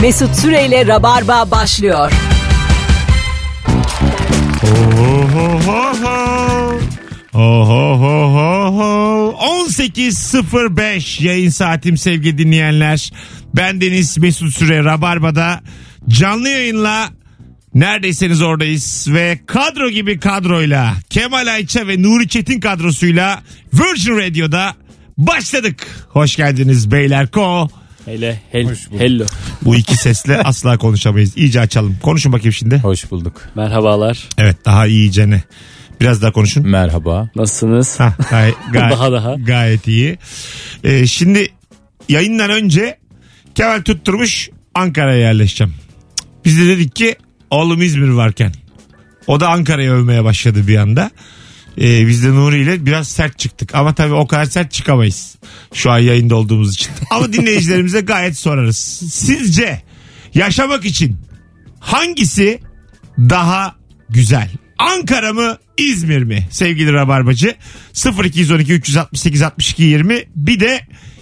Mesut Süreyle Rabarba başlıyor. Ohohoho. Ohohoho. 18.05 yayın saatim sevgili dinleyenler. Ben Deniz Mesut Süre Rabarba'da canlı yayınla neredeyseniz oradayız ve kadro gibi kadroyla Kemal Ayça ve Nuri Çetin kadrosuyla Virgin Radio'da başladık. Hoş geldiniz beyler ko. Hele hel, hello. Bu iki sesle asla konuşamayız. İyice açalım. Konuşun bakayım şimdi. Hoş bulduk. Merhabalar. Evet daha iyice ne. Biraz daha konuşun. Merhaba. Nasılsınız? Hah, gay- gay- Daha daha. Gayet iyi. Ee, şimdi yayından önce Kemal tutturmuş Ankara'ya yerleşeceğim. Biz de dedik ki oğlum İzmir varken. O da Ankara'ya övmeye başladı bir anda. Ee, biz de Nuri ile biraz sert çıktık. Ama tabii o kadar sert çıkamayız. Şu an yayında olduğumuz için. Ama dinleyicilerimize gayet sorarız. Sizce yaşamak için hangisi daha güzel? Ankara mı İzmir mi? Sevgili Rabarbacı 0212 368 62 20 bir de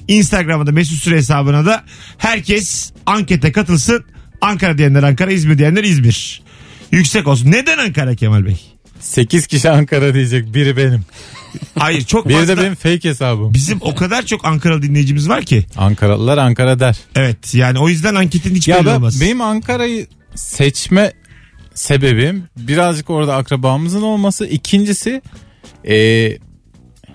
Instagram'da Mesut Süre hesabına da herkes ankete katılsın. Ankara diyenler Ankara, İzmir diyenler İzmir. Yüksek olsun. Neden Ankara Kemal Bey? 8 kişi Ankara diyecek. Biri benim. Hayır çok Biri fazla. de benim fake hesabım. Bizim o kadar çok Ankara dinleyicimiz var ki. Ankaralılar Ankara der. Evet yani o yüzden anketin hiç Ya belli ben, olmaz. benim Ankara'yı seçme sebebim birazcık orada akrabamızın olması. İkincisi e,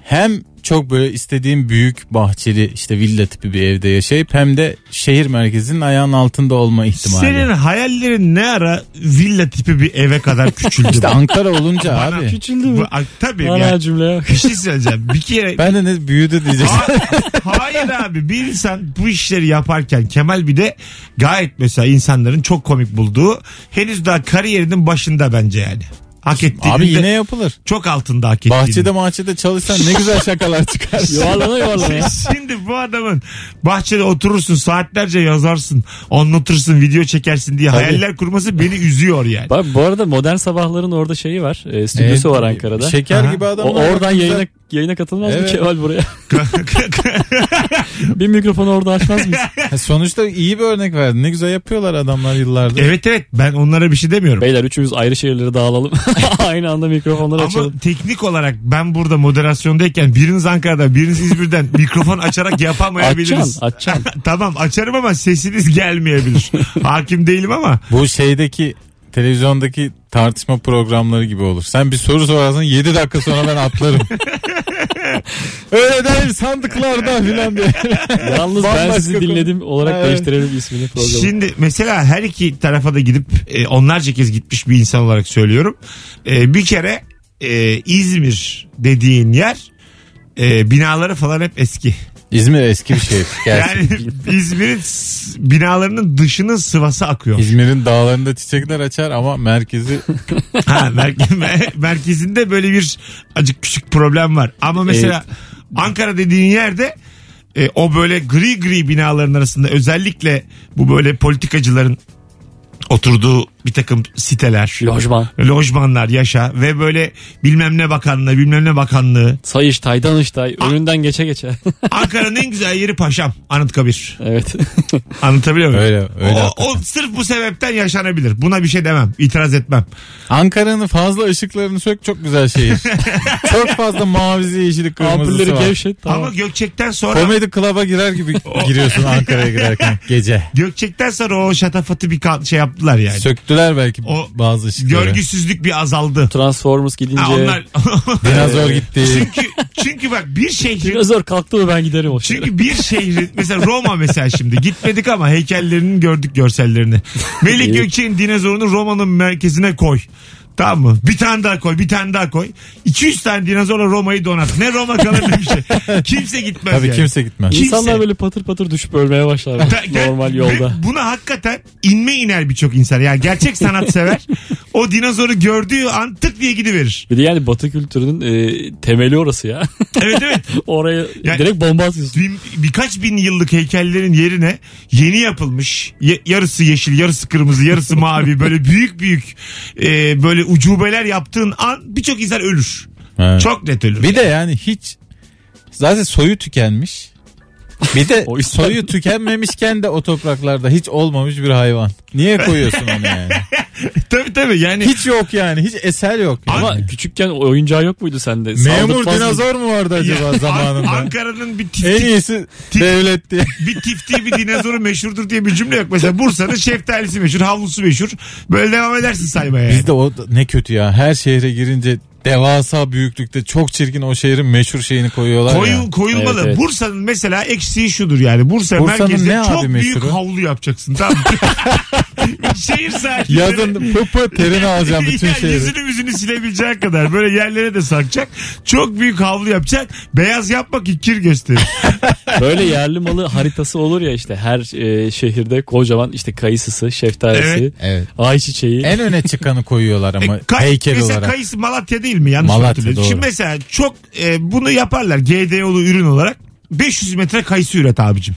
hem çok böyle istediğim büyük bahçeli işte villa tipi bir evde yaşayıp hem de şehir merkezinin ayağının altında olma ihtimali. Senin hayallerin ne ara villa tipi bir eve kadar küçüldü? İşte Ankara olunca abi. Küçüldü Bu- mü? a- Tabii Ana yani cümle. bir şey söyleyeceğim. Bir kere Ben de ne büyüdü diyeceksin. Ha- Hayır abi bir insan bu işleri yaparken Kemal bir de gayet mesela insanların çok komik bulduğu henüz daha kariyerinin başında bence yani. Hak ettiğini Abi de yine yapılır. çok altında hak ettiğini. Bahçede bahçede çalışsan ne güzel şakalar çıkar. Yuvarlana yuvarlana ya. Şimdi bu adamın bahçede oturursun saatlerce yazarsın anlatırsın video çekersin diye Tabii. hayaller kurması beni üzüyor yani. Bak bu arada modern sabahların orada şeyi var. E, stüdyosu Evet, var Ankara'da. Şeker Aha. gibi o, adamlar. oradan güzel- yayına, yayına katılmaz mı Evet. Kemal buraya? Bir mikrofonu orada açmaz mıyız? Ha, Sonuçta iyi bir örnek verdin. Ne güzel yapıyorlar adamlar yıllardır. evet evet ben onlara bir şey demiyorum. Beyler üçümüz ayrı şehirlere dağılalım. Aynı anda mikrofonları açalım. Ama teknik olarak ben burada moderasyondayken biriniz Ankara'da biriniz İzmir'den mikrofon açarak yapamayabiliriz. Açacaksın, açacaksın. tamam açarım ama sesiniz gelmeyebilir. Hakim değilim ama Bu şeydeki televizyondaki tartışma programları gibi olur. Sen bir soru sorarsın 7 dakika sonra ben atlarım. Öyle değil sandıklarda filan diye. Yalnız ben Bambaşka sizi konu. dinledim olarak Evet. değiştirelim ismini programı. şimdi mesela her iki tarafa da gidip e, onlarca kez gitmiş bir insan olarak söylüyorum. E, bir kere e, İzmir dediğin yer e, binaları falan hep eski. İzmir eski bir şehir. Gerçi. Yani İzmir'in s- binalarının dışının sıvası akıyor. İzmir'in dağlarında çiçekler açar ama merkezi Ha, merke- me- merkezinde böyle bir acık küçük problem var. Ama mesela Ankara dediğin yerde e, o böyle gri gri binaların arasında özellikle bu böyle politikacıların oturduğu bir takım siteler. Lojman. Lojmanlar yaşa ve böyle bilmem ne bakanlığı bilmem ne bakanlığı. Sayıştay, Danıştay önünden geçe geçe. Ankara'nın en güzel yeri Paşam Anıtkabir. evet. Anlatabiliyor muyum? Öyle, öyle o, o sırf bu sebepten yaşanabilir. Buna bir şey demem. itiraz etmem. Ankara'nın fazla ışıklarını sök çok güzel şehir. çok fazla mavisi yeşili kırmızısı Ampulleri var. gevşet. Tamam. Ama Gökçek'ten sonra Komedi klaba girer gibi giriyorsun Ankara'ya girerken gece. Gökçek'ten sonra o şatafatı bir ka- şey yaptılar yani. Söktüler belki O bazı ışıkları. Görgüsüzlük bir azaldı. Transformers gidince. Ha, onlar Dinozor gitti. çünkü çünkü bak bir şehrin Dinozor kalktı mı ben giderim o şehre. çünkü bir şehrin mesela Roma mesela şimdi gitmedik ama heykellerini gördük görsellerini. Melih İyi. Gökçek'in dinozorunu Roma'nın merkezine koy. Tamam mı? Bir tane daha koy, bir tane daha koy. 200 tane dinozorla Roma'yı donat. Ne Roma kalır ne bir şey. Kimse gitmez Tabii yani. kimse gitmez. Kimse- İnsanlar böyle patır patır düşüp ölmeye başlar Ta- ger- normal ve yolda. Buna hakikaten inme iner birçok insan. Yani gerçek sanatsever o dinozoru gördüğü an tık diye gidiverir. Bir de yani batı kültürünün e, temeli orası ya. Evet evet. Oraya Yani- direkt bomba atıyorsun. Bin- birkaç bin yıllık heykellerin yerine yeni yapılmış ye- yarısı yeşil yarısı kırmızı yarısı mavi böyle büyük büyük e, böyle ucubeler yaptığın an birçok insan ölür. Evet. Çok net ölür. Bir de yani hiç zaten soyu tükenmiş. Bir de O yüzden- soyu tükenmemişken de o topraklarda hiç olmamış bir hayvan. Niye koyuyorsun onu yani? tabii tabii yani. Hiç yok yani. Hiç eser yok. Yani. Ama küçükken oyuncağı yok muydu sende? memur Saldırtmaz mıydın? dinozor mu vardı acaba Ya, An- zamanında? Ankara'nın bir En tifti, iyisi devlet diye. bir tifti bir dinozoru meşhurdur diye bir cümle yok. Mesela Bursa'nın şeftalisi meşhur, havlusu meşhur. Böyle devam edersin saymaya. yani. Bizde o da- ne kötü ya. Her şehre girince devasa büyüklükte çok çirkin o şehrin meşhur şeyini koyuyorlar ya. Koyun, koyulmalı. Evet, evet. Bursa'nın mesela eksiği şudur yani. Bursa Bursa'nın merkezde ne çok abi büyük meşhuru? havlu yapacaksın. Tamam. mı? Şehir sakinleri. Yazın pı pı terini alacağım bütün Ya şehri. Yüzünü yüzünü silebilecek kadar böyle yerlere de sakacak. Çok büyük havlu yapacak. Beyaz yapmak ikir gösterir. Böyle yerli malı haritası olur ya işte her e, şehirde kocaman işte kayısısı, şeftalisi, Evet. Evet. ayçiçeği. En öne çıkanı koyuyorlar ama E, kay- heykel mesela olarak. Kayısı Malatya değil mi? Yanlış Malatya, hatırlıyorum. Şimdi doğru. mesela çok e, bunu yaparlar GD yolu ürün olarak. 500 metre kayısı üret abicim.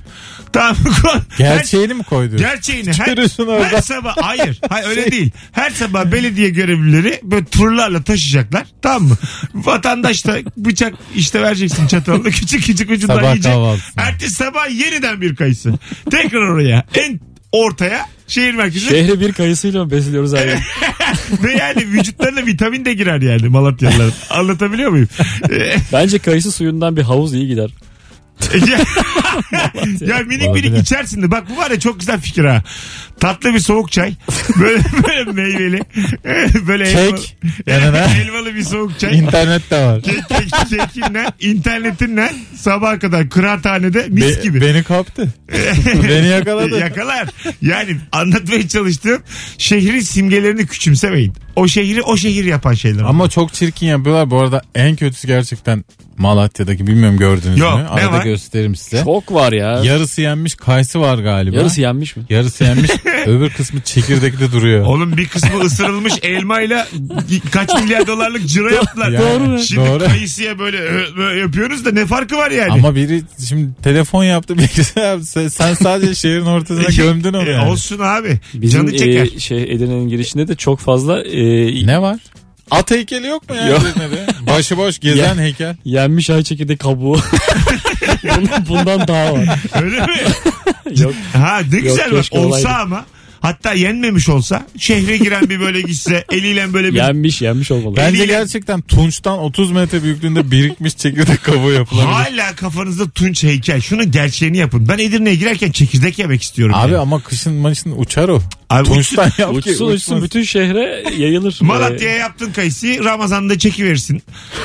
Tamam. Gerçeğini mi koydu? Gerçeğini her, Çıkarıyorsun Şey- orada. her sabah hayır, hayır öyle değil. Her sabah belediye görevlileri böyle turlarla taşıyacaklar. Tamam mı? Vatandaş da bıçak işte vereceksin çatalını küçük küçük ucundan Sabah yiyecek. kahvaltısına. Ertesi sabah yeniden bir kayısı. Tekrar oraya en ortaya şehir merkezine Şey- Şehri bir kayısıyla mı besliyoruz abi? ve yani vücutlarına vitamin de girer yani Malatyalıların. Anlatabiliyor muyum? Ee, Bence kayısı suyundan bir havuz iyi gider. ya, ya minik minik Olabilir. içersin de. Bak bu var ya çok güzel fikir ha. Tatlı bir soğuk çay. Böyle, böyle meyveli. böyle Kek yanına. elmalı, elmalı bir soğuk çay. İnternet de var. Kek, kek, kekinle, internetinle sabaha kadar kıraathanede mis Be- gibi. E, Beni kaptı. beni yakaladı. Yakalar. Yani anlatmaya çalıştığım şehrin simgelerini küçümsemeyin. O şehri o şehir yapan şeyler. Ama çok çirkin yapıyorlar. Bu arada en kötüsü gerçekten Malatya'daki bilmiyorum gördünüz Yok, mü? ne Arada var? gösteririm size. Çok var ya. Yarısı yenmiş kayısı var galiba. Yarısı yenmiş mi? Yarısı yenmiş öbür kısmı çekirdekli duruyor. Oğlum bir kısmı ısırılmış elmayla kaç milyar dolarlık ciro yaptılar. Yani, Doğru. Şimdi doğru. kayısıya böyle ö- ö- yapıyoruz da ne farkı var yani? Ama biri şimdi telefon yaptı birisi yaptı. Sen, sen sadece şehrin ortasına gömdün onu E, yani. Olsun abi. Bizim Canı çeker. e, şey Edirne'nin girişinde de çok fazla e, Ne var? At heykeli yok mu ya? Yok. Edirne'de? Başıboş gezen heykel. yenmiş ay çekirdeği kabuğu. Bunun- bundan daha var. Öyle mi? Yok. Ha ne güzel bak. keşke Olsa olaydı. ama hatta yenmemiş olsa şehre giren bir böyle gitse eliyle böyle bir Yenmiş yenmiş olmalı. Bence Eliyle- gerçekten tunçtan 30 metre büyüklüğünde birikmiş çekirdek kabuğu yapılabilir. Hala kafanızda tunç heykel. Şunun gerçeğini yapın. Ben Edirne'ye girerken çekirdek yemek istiyorum. Abi yani. ama kışın maçın uçar o. Abi Tunçtan yap ki Uçsun uçsun uçmaz. bütün şehre yayılır. Malatya'ya yaptın kayısı Ramazan'da çekiverirsin.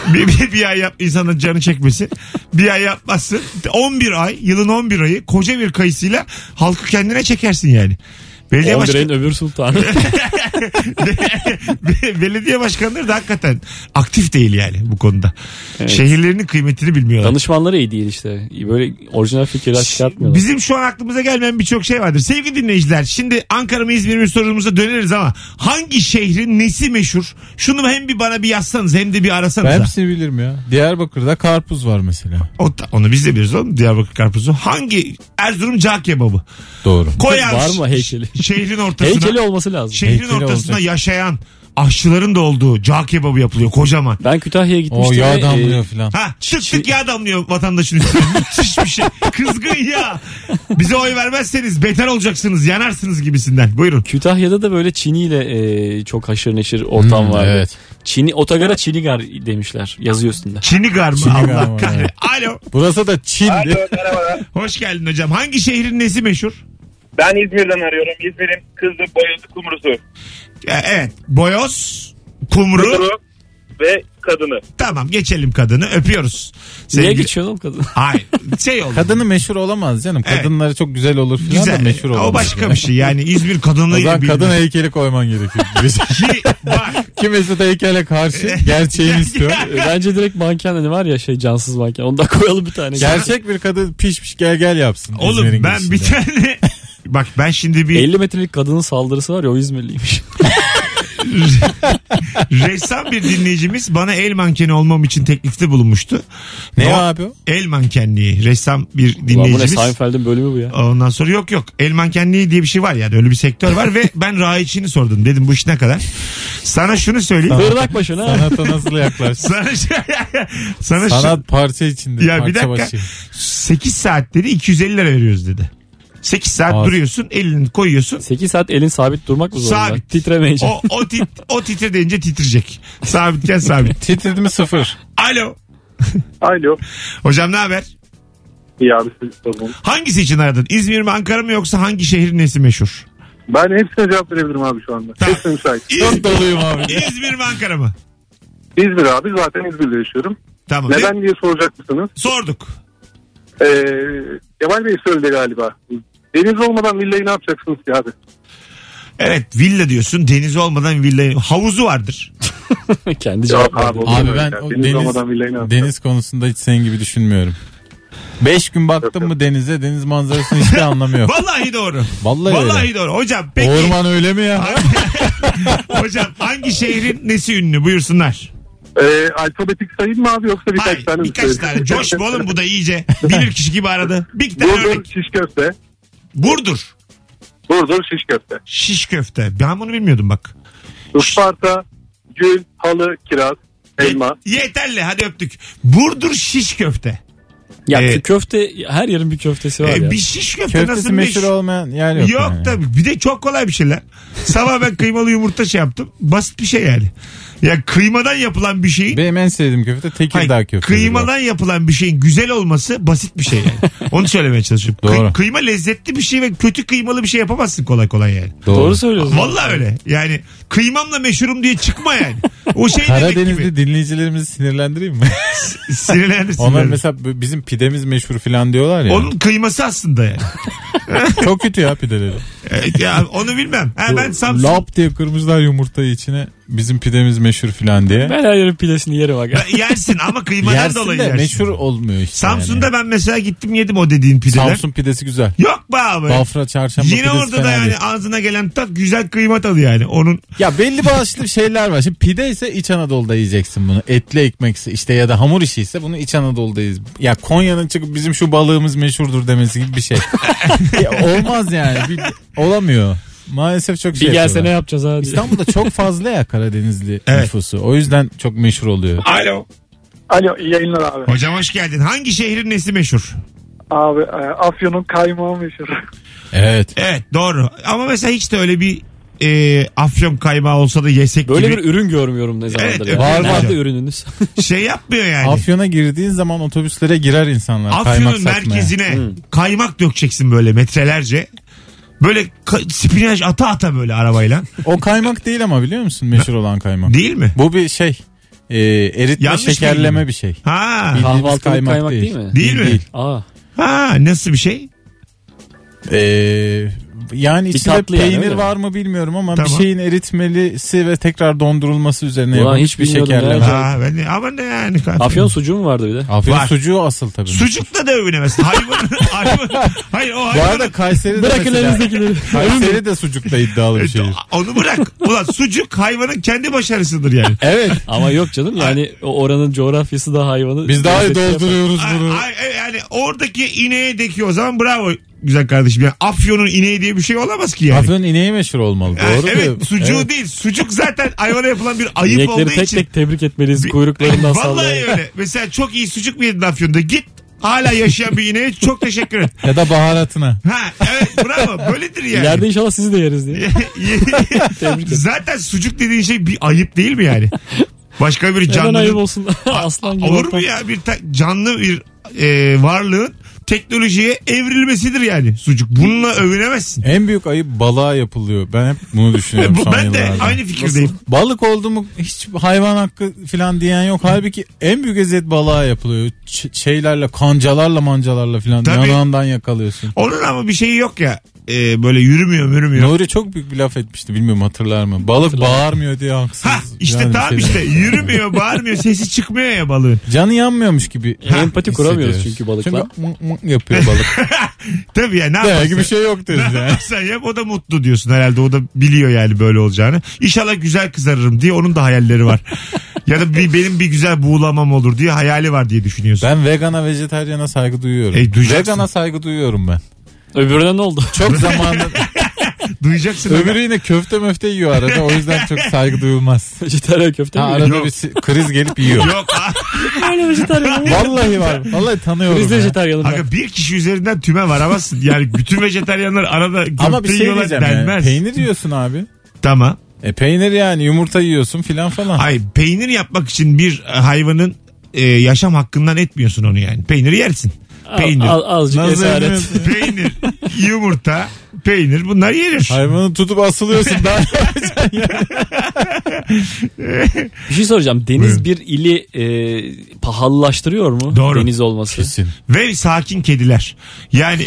Bir, bir, bir ay yap insanın canı çekmesin. Bir ay yapmazsın. 11 ay yılın 11 ayı koca bir kayısıyla halkı kendine çekersin yani. Ee, Belediye, başkan, Ondre'nin öbür sultanı. belediye başkanları da hakikaten aktif değil yani bu konuda. Şehirlerinin kıymetini bilmiyorlar. Danışmanları iyi değil işte. Böyle orijinal fikirler çıkartmıyorlar. Bizim şu an aklımıza gelmeyen birçok şey vardır. Sevgili dinleyiciler şimdi Ankara mı İzmir mi sorumuza döneriz ama hangi şehrin nesi meşhur? Şunu hem bir bana bir yazsanız hem de bir arasanız. Ben hepsini bilirim ya. Diyarbakır'da karpuz var mesela. O da- onu biz de biliriz oğlum Diyarbakır karpuzu. Hangi Erzurum cağ kebabı? Doğru. Koyar Var mı heykeli? ş- Şehrin ortasına. Heykeli olması lazım. şehrin Heykeli ortasına olacak. yaşayan aşçıların da olduğu cağ kebabı yapılıyor kocaman. Ben Kütahya'ya O gitmiştim. ve, yağ e, damlıyor filan. Ha tık tık yağ damlıyor vatandaşın üstüne. Müthiş bir şey. Kızgın yağ. Bize oy vermezseniz beter olacaksınız yanarsınız gibisinden. Buyurun. Kütahya'da da böyle Çini ile e, çok haşır neşir ortam Hmm, vardı. evet. Çini, otogara Çinigar demişler yazıyor üstünde. Çinigar mı? Çinigar Allah var, kahretsin. Alo. Burası da Çin'di. Alo merhabalar. Hoş geldin hocam. Hangi şehrin nesi meşhur? Ben İzmir'den arıyorum. İzmir'in kızı boyası kumrusu. E, Evet. Boyoz, kumru. Kuru ve kadını. Tamam geçelim kadını. Öpüyoruz. Niye Sevgili- geçiyorsun oğlum kadın? Hayır. Şey oldu. Kadını meşhur olamaz canım. Evet. Kadınları çok güzel olur filan da Güzel. meşhur olamaz. o başka bir şey. Yani İzmir kadını O zaman bilmiyor. kadın heykeli koyman gerekiyor. Ki bak. Kimisi de heykele karşı gerçeğini istiyor. E, Bence direkt manken hani var ya şey cansız manken. Onu da koyalım bir tane. Gerçek bir kadın pişmiş gel gel yapsın. Oğlum İzmir'in ben bir girişinde. tane Bak ben şimdi bir 50 metrelik kadının saldırısı var ya o İzmirliymiş. Ressam bir dinleyicimiz bana el mankeni olmam için teklifte bulunmuştu. Ne Doğa- abi o? El mankenliği. Ressam bir Ulan bu ne dinleyicimiz. Seinfeld'in bölümü bu ya. Ondan sonra yok yok. El mankenliği diye bir şey var yani. Öyle bir sektör var ve ben rayiçini sordum. Dedim bu iş ne kadar? Sana şunu söyleyeyim. Hırlak başına. ha. Sanata nasıl yaklaşsın? sana sana, şu, Sanat parça içinde. Ya parça bir dakika. başı. 8 saat dedi 250 lira veriyoruz dedi. 8 saat Az. duruyorsun elini koyuyorsun. 8 saat elin sabit durmak mı zorunda? Sabit. Şey- Titremeyecek. O, o, tit, o titre deyince titrecek. Sabitken sabit. Titredi mi sıfır? Alo. Alo. Hocam ne haber? İyi abi siz sorun. Hangisi için aradın? İzmir mi Ankara mı yoksa hangi şehrin nesi meşhur? Ben hepsine cevap verebilirim abi şu anda. Tamam. Hepsine müsait. Çok doluyum abi. İzmir mi Ankara mı? İzmir abi zaten İzmir'de yaşıyorum. Tamam. Neden diye soracak mısınız? Sorduk. Ee, Kemal Bey söyledi galiba. Deniz olmadan villayı ne yapacaksınız ki abi? Evet villa diyorsun deniz olmadan villa havuzu vardır. Kendi cevap verdi. olur mu Abi öyle ben ya? o deniz, olmadan villayı deniz, ne yapacaksın? deniz konusunda hiç senin gibi düşünmüyorum. Beş gün baktım mı denize deniz manzarasının hiçbir anlamı yok. Vallahi doğru. Vallahi, Vallahi öyle. doğru. Hocam peki. Orman öyle mi ya? Hocam hangi şehrin nesi ünlü buyursunlar. Ee, alfabetik sayayım mı abi yoksa birkaç Hayır, tane mi birkaç söyleyeyim? tane. Coş mu oğlum bu da iyice. Bilir kişi gibi aradı. Bir iki tane Burdur örnek. şiş köfte. Burdur. Burdur şiş köfte. Şiş köfte. Ben bunu bilmiyordum bak. Isparta, gül, halı, kiraz, elma. Yeterli hadi öptük. Burdur şiş köfte. Ya Ee, şu köfte her yerin bir köftesi var Ee, ya. bir şiş köfte Köftesi nasıl meşhur meşhur? olmayan yer yok. Yok, yani. tabii. Bir de çok kolay bir şey lan. Sabah ben kıymalı yumurta şey yaptım. Basit bir şey yani. Ya kıymadan yapılan bir şeyin Benim en sevdiğim köfte Hayır, Tekirdağ köftesi. kıymadan yapılan bir şeyin güzel olması basit bir şey yani. Onu söylemeye çalışıyorum. Kıy- Doğru. kıyma lezzetli bir şey ve kötü kıymalı bir şey yapamazsın kolay kolay yani. Doğru. Doğru söylüyorsun. Vallahi öyle. Yani kıymamla meşhurum diye çıkma yani. O şey demek Karadenizli gibi. dinleyicilerimizi sinirlendireyim mi? Sinirlendirsin. Onlar yani. mesela b- bizim pidemiz meşhur falan diyorlar ya. Onun kıyması aslında yani. Çok kötü ya pideleri. Evet, ya onu bilmem. Ha, ben Samsun. Lap diye kırmızılar yumurtayı içine. Bizim pidemiz meşhur falan diye. Ben her yerin pidesini yerim aga. Yersin ama kıymadan Yersin de dolayı yersin. meşhur olmuyor işte. Samsun'da yani. ben mesela gittim yedim o dediğin pideler. Samsun pidesi güzel. Yok be abi. Bafra çarşamba Yine pidesi orada fena da yani değil. ağzına gelen tat güzel kıyma tadı yani. Onun Ya belli başlı şeyler var. Şimdi pide ise İç Anadolu'da yiyeceksin bunu. Etli ekmekse işte ya da hamur işi ise bunu İç Anadolu'da yiyiz. Ya Konya'nın çıkıp bizim şu balığımız meşhurdur demesi gibi bir şey. Ya olmaz yani. Bir- olamıyor. Maalesef çok şey bir gelse ne yapıyorlar. yapacağız hadi. İstanbul'da çok fazla ya Karadenizli Evet. nüfusu. O yüzden çok meşhur oluyor. Alo. Alo iyi yayınlar abi. Hocam hoş geldin. Hangi şehrin nesi meşhur? Abi e, Afyon'un kaymağı meşhur. Evet. Evet doğru. Ama mesela hiç de öyle bir e, afyon kaymağı olsa da yesek Böyle gibi bir ürün görmüyorum ne zamandır. Evet, ya. var, Nerede var. ürününüz? şey yapmıyor yani. Afyon'a girdiğin zaman otobüslere girer insanlar. kaymak Afyon'un satmaya. Hmm. merkezine kaymak dökeceksin böyle metrelerce. Böyle ka- spinaj ata ata böyle arabayla. O kaymak değil ama biliyor musun meşhur olan kaymak? Değil mi? Bu bir şey. e, eritme Yanlış şekerleme bilgi. bir şey. Ha. Bildiğimiz Kahvaltılık kaymak değil mi? Değil mi? Aa, Ha nasıl bir şey? Ee, yani içinde tatlı yani, peynir öyle mi? var mı bilmiyorum ama Tamam. bir şeyin eritmelisi ve tekrar dondurulması üzerine Ulan yapılmış hiç bir bilmiyordum şekerleme. ya. Ha ben de, ama ne yani? Afyon sucuğu mu vardı bir de? Afyon Var. sucuğu asıl tabii. Sucukla da övünemezsin. Hayvan, hayvan. Hayır o Bu hayvan. arada Kayseri de Bırakın mesela, elinizdekileri. Kayseri de sucukta iddialı E, bir şey. şehir. Onu bırak. Ulan sucuk hayvanın kendi başarısıdır yani. Evet. Ama yok canım yani o oranın coğrafyası da hayvanı. Biz daha iyi lezzetli yapar. dolduruyoruz şey Ay- bunu. ay- ay- yani oradaki ineğe dekiyor o zaman bravo güzel kardeşim. Yani Afyon'un ineği diye bir şey olamaz ki yani. Afyon ineği meşhur olmalı. Ha, Doğru. evet diyor. sucuğu Evet. değil. Sucuk zaten hayvana yapılan bir ayıp İnekleri olduğu tek için. tek tebrik etmeliyiz kuyruklarından Vallahi sallayarak. öyle. Mesela çok iyi sucuk mu yedin Afyon'da? Git hala yaşayan bir ineğe çok teşekkür et. Ya da baharatına. Ha evet bravo böyledir yani. İleride inşallah sizi de yeriz diye. Tebrik ederim. Zaten sucuk dediğin şey bir ayıp değil mi yani? Başka bir Neden ayıp canlı olsun? Aslan gibi. olur mu ortam. ya bir ta- canlı bir e, varlığın teknolojiye evrilmesidir yani sucuk. Bununla övünemezsin. En büyük ayıp balığa yapılıyor. Ben hep bunu düşünüyorum Bu, son ben de yıllarda. aynı fikirdeyim. Balık oldu mu hiç hayvan hakkı falan diyen yok. Halbuki en büyük eziyet balığa yapılıyor. Ç- şeylerle, kancalarla, mancalarla falan Tabii. yanağından yakalıyorsun. Onun ama bir şeyi yok ya. e, böyle yürümüyor yürümüyor. Nuri çok büyük bir laf etmişti bilmiyorum hatırlar mı? Balık bağırmıyor diye haksız. Ha işte Yani şey tamam şeyden- işte yürümüyor bağırmıyor sesi çıkmıyor ya balığın. Canı yanmıyormuş gibi. Ha. Empati kuramıyoruz hissediyoruz. çünkü balıkla. Çünkü mık mık yapıyor balık. Tabii ya ne Değer yaparsan, gibi bir şey yok ne deriz yani. yaparsan yap o da mutlu diyorsun herhalde o da biliyor yani böyle olacağını. İnşallah güzel kızarırım diye onun da hayalleri var. ya da bir, benim bir güzel buğulamam olur diye hayali var diye düşünüyorsun. Ben vegana, vejetaryana saygı duyuyorum. E, duyacaksın. vegana saygı duyuyorum ben. Öbürüne ne oldu? Çok zamanında. Duyacaksın. Öbürü yine köfte möfte yiyor arada. O yüzden çok saygı duyulmaz. Vejetaryen köfte Ha, mi? arada Yok. bir si- kriz gelip yiyor. Yok ha. Aynen vejetaryen. Vallahi var. Vallahi tanıyorum. Biz de ya. vejetaryenim. ben. Aga bir kişi üzerinden tüme varamazsın. Yani bütün vejetaryenler arada köfte Ama bir şey yiyorlar diyeceğim yani. denmez. Peynir yiyorsun abi. Tamam. E peynir yani yumurta yiyorsun filan falan. Ay peynir yapmak için bir hayvanın e, yaşam hakkından etmiyorsun onu yani. Peyniri yersin. Al- Peynir. al- azıcık Nasıl esaret. yemiyorsun? peynir, yumurta, peynir bunlar yenir. Hayvanı tutup asılıyorsun. Ben Bir şey soracağım. Deniz Buyurun. bir ili e, pahalılaştırıyor mu? Doğru. Deniz olması. Ve sakin kediler. Yani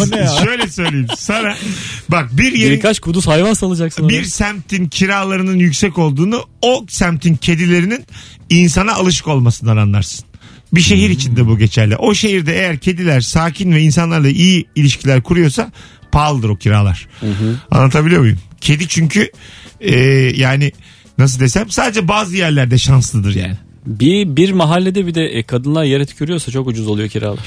o ne ya? şöyle söyleyeyim sana. Bak bir yerin Birkaç kuduz hayvan salacaksın. bir semtin kiralarının yüksek olduğunu o semtin kedilerinin insana alışık olmasından anlarsın. Bir şehir Hmm. içinde bu geçerli. O şehirde eğer kediler sakin ve insanlarla iyi ilişkiler kuruyorsa pahalıdır o kiralar. Anlatabiliyor muyum? Kedi çünkü e, yani nasıl desem sadece bazı yerlerde şanslıdır yani. Bir, bir mahallede bir de e, kadınlar yere tükürüyorsa çok ucuz oluyor kiralar.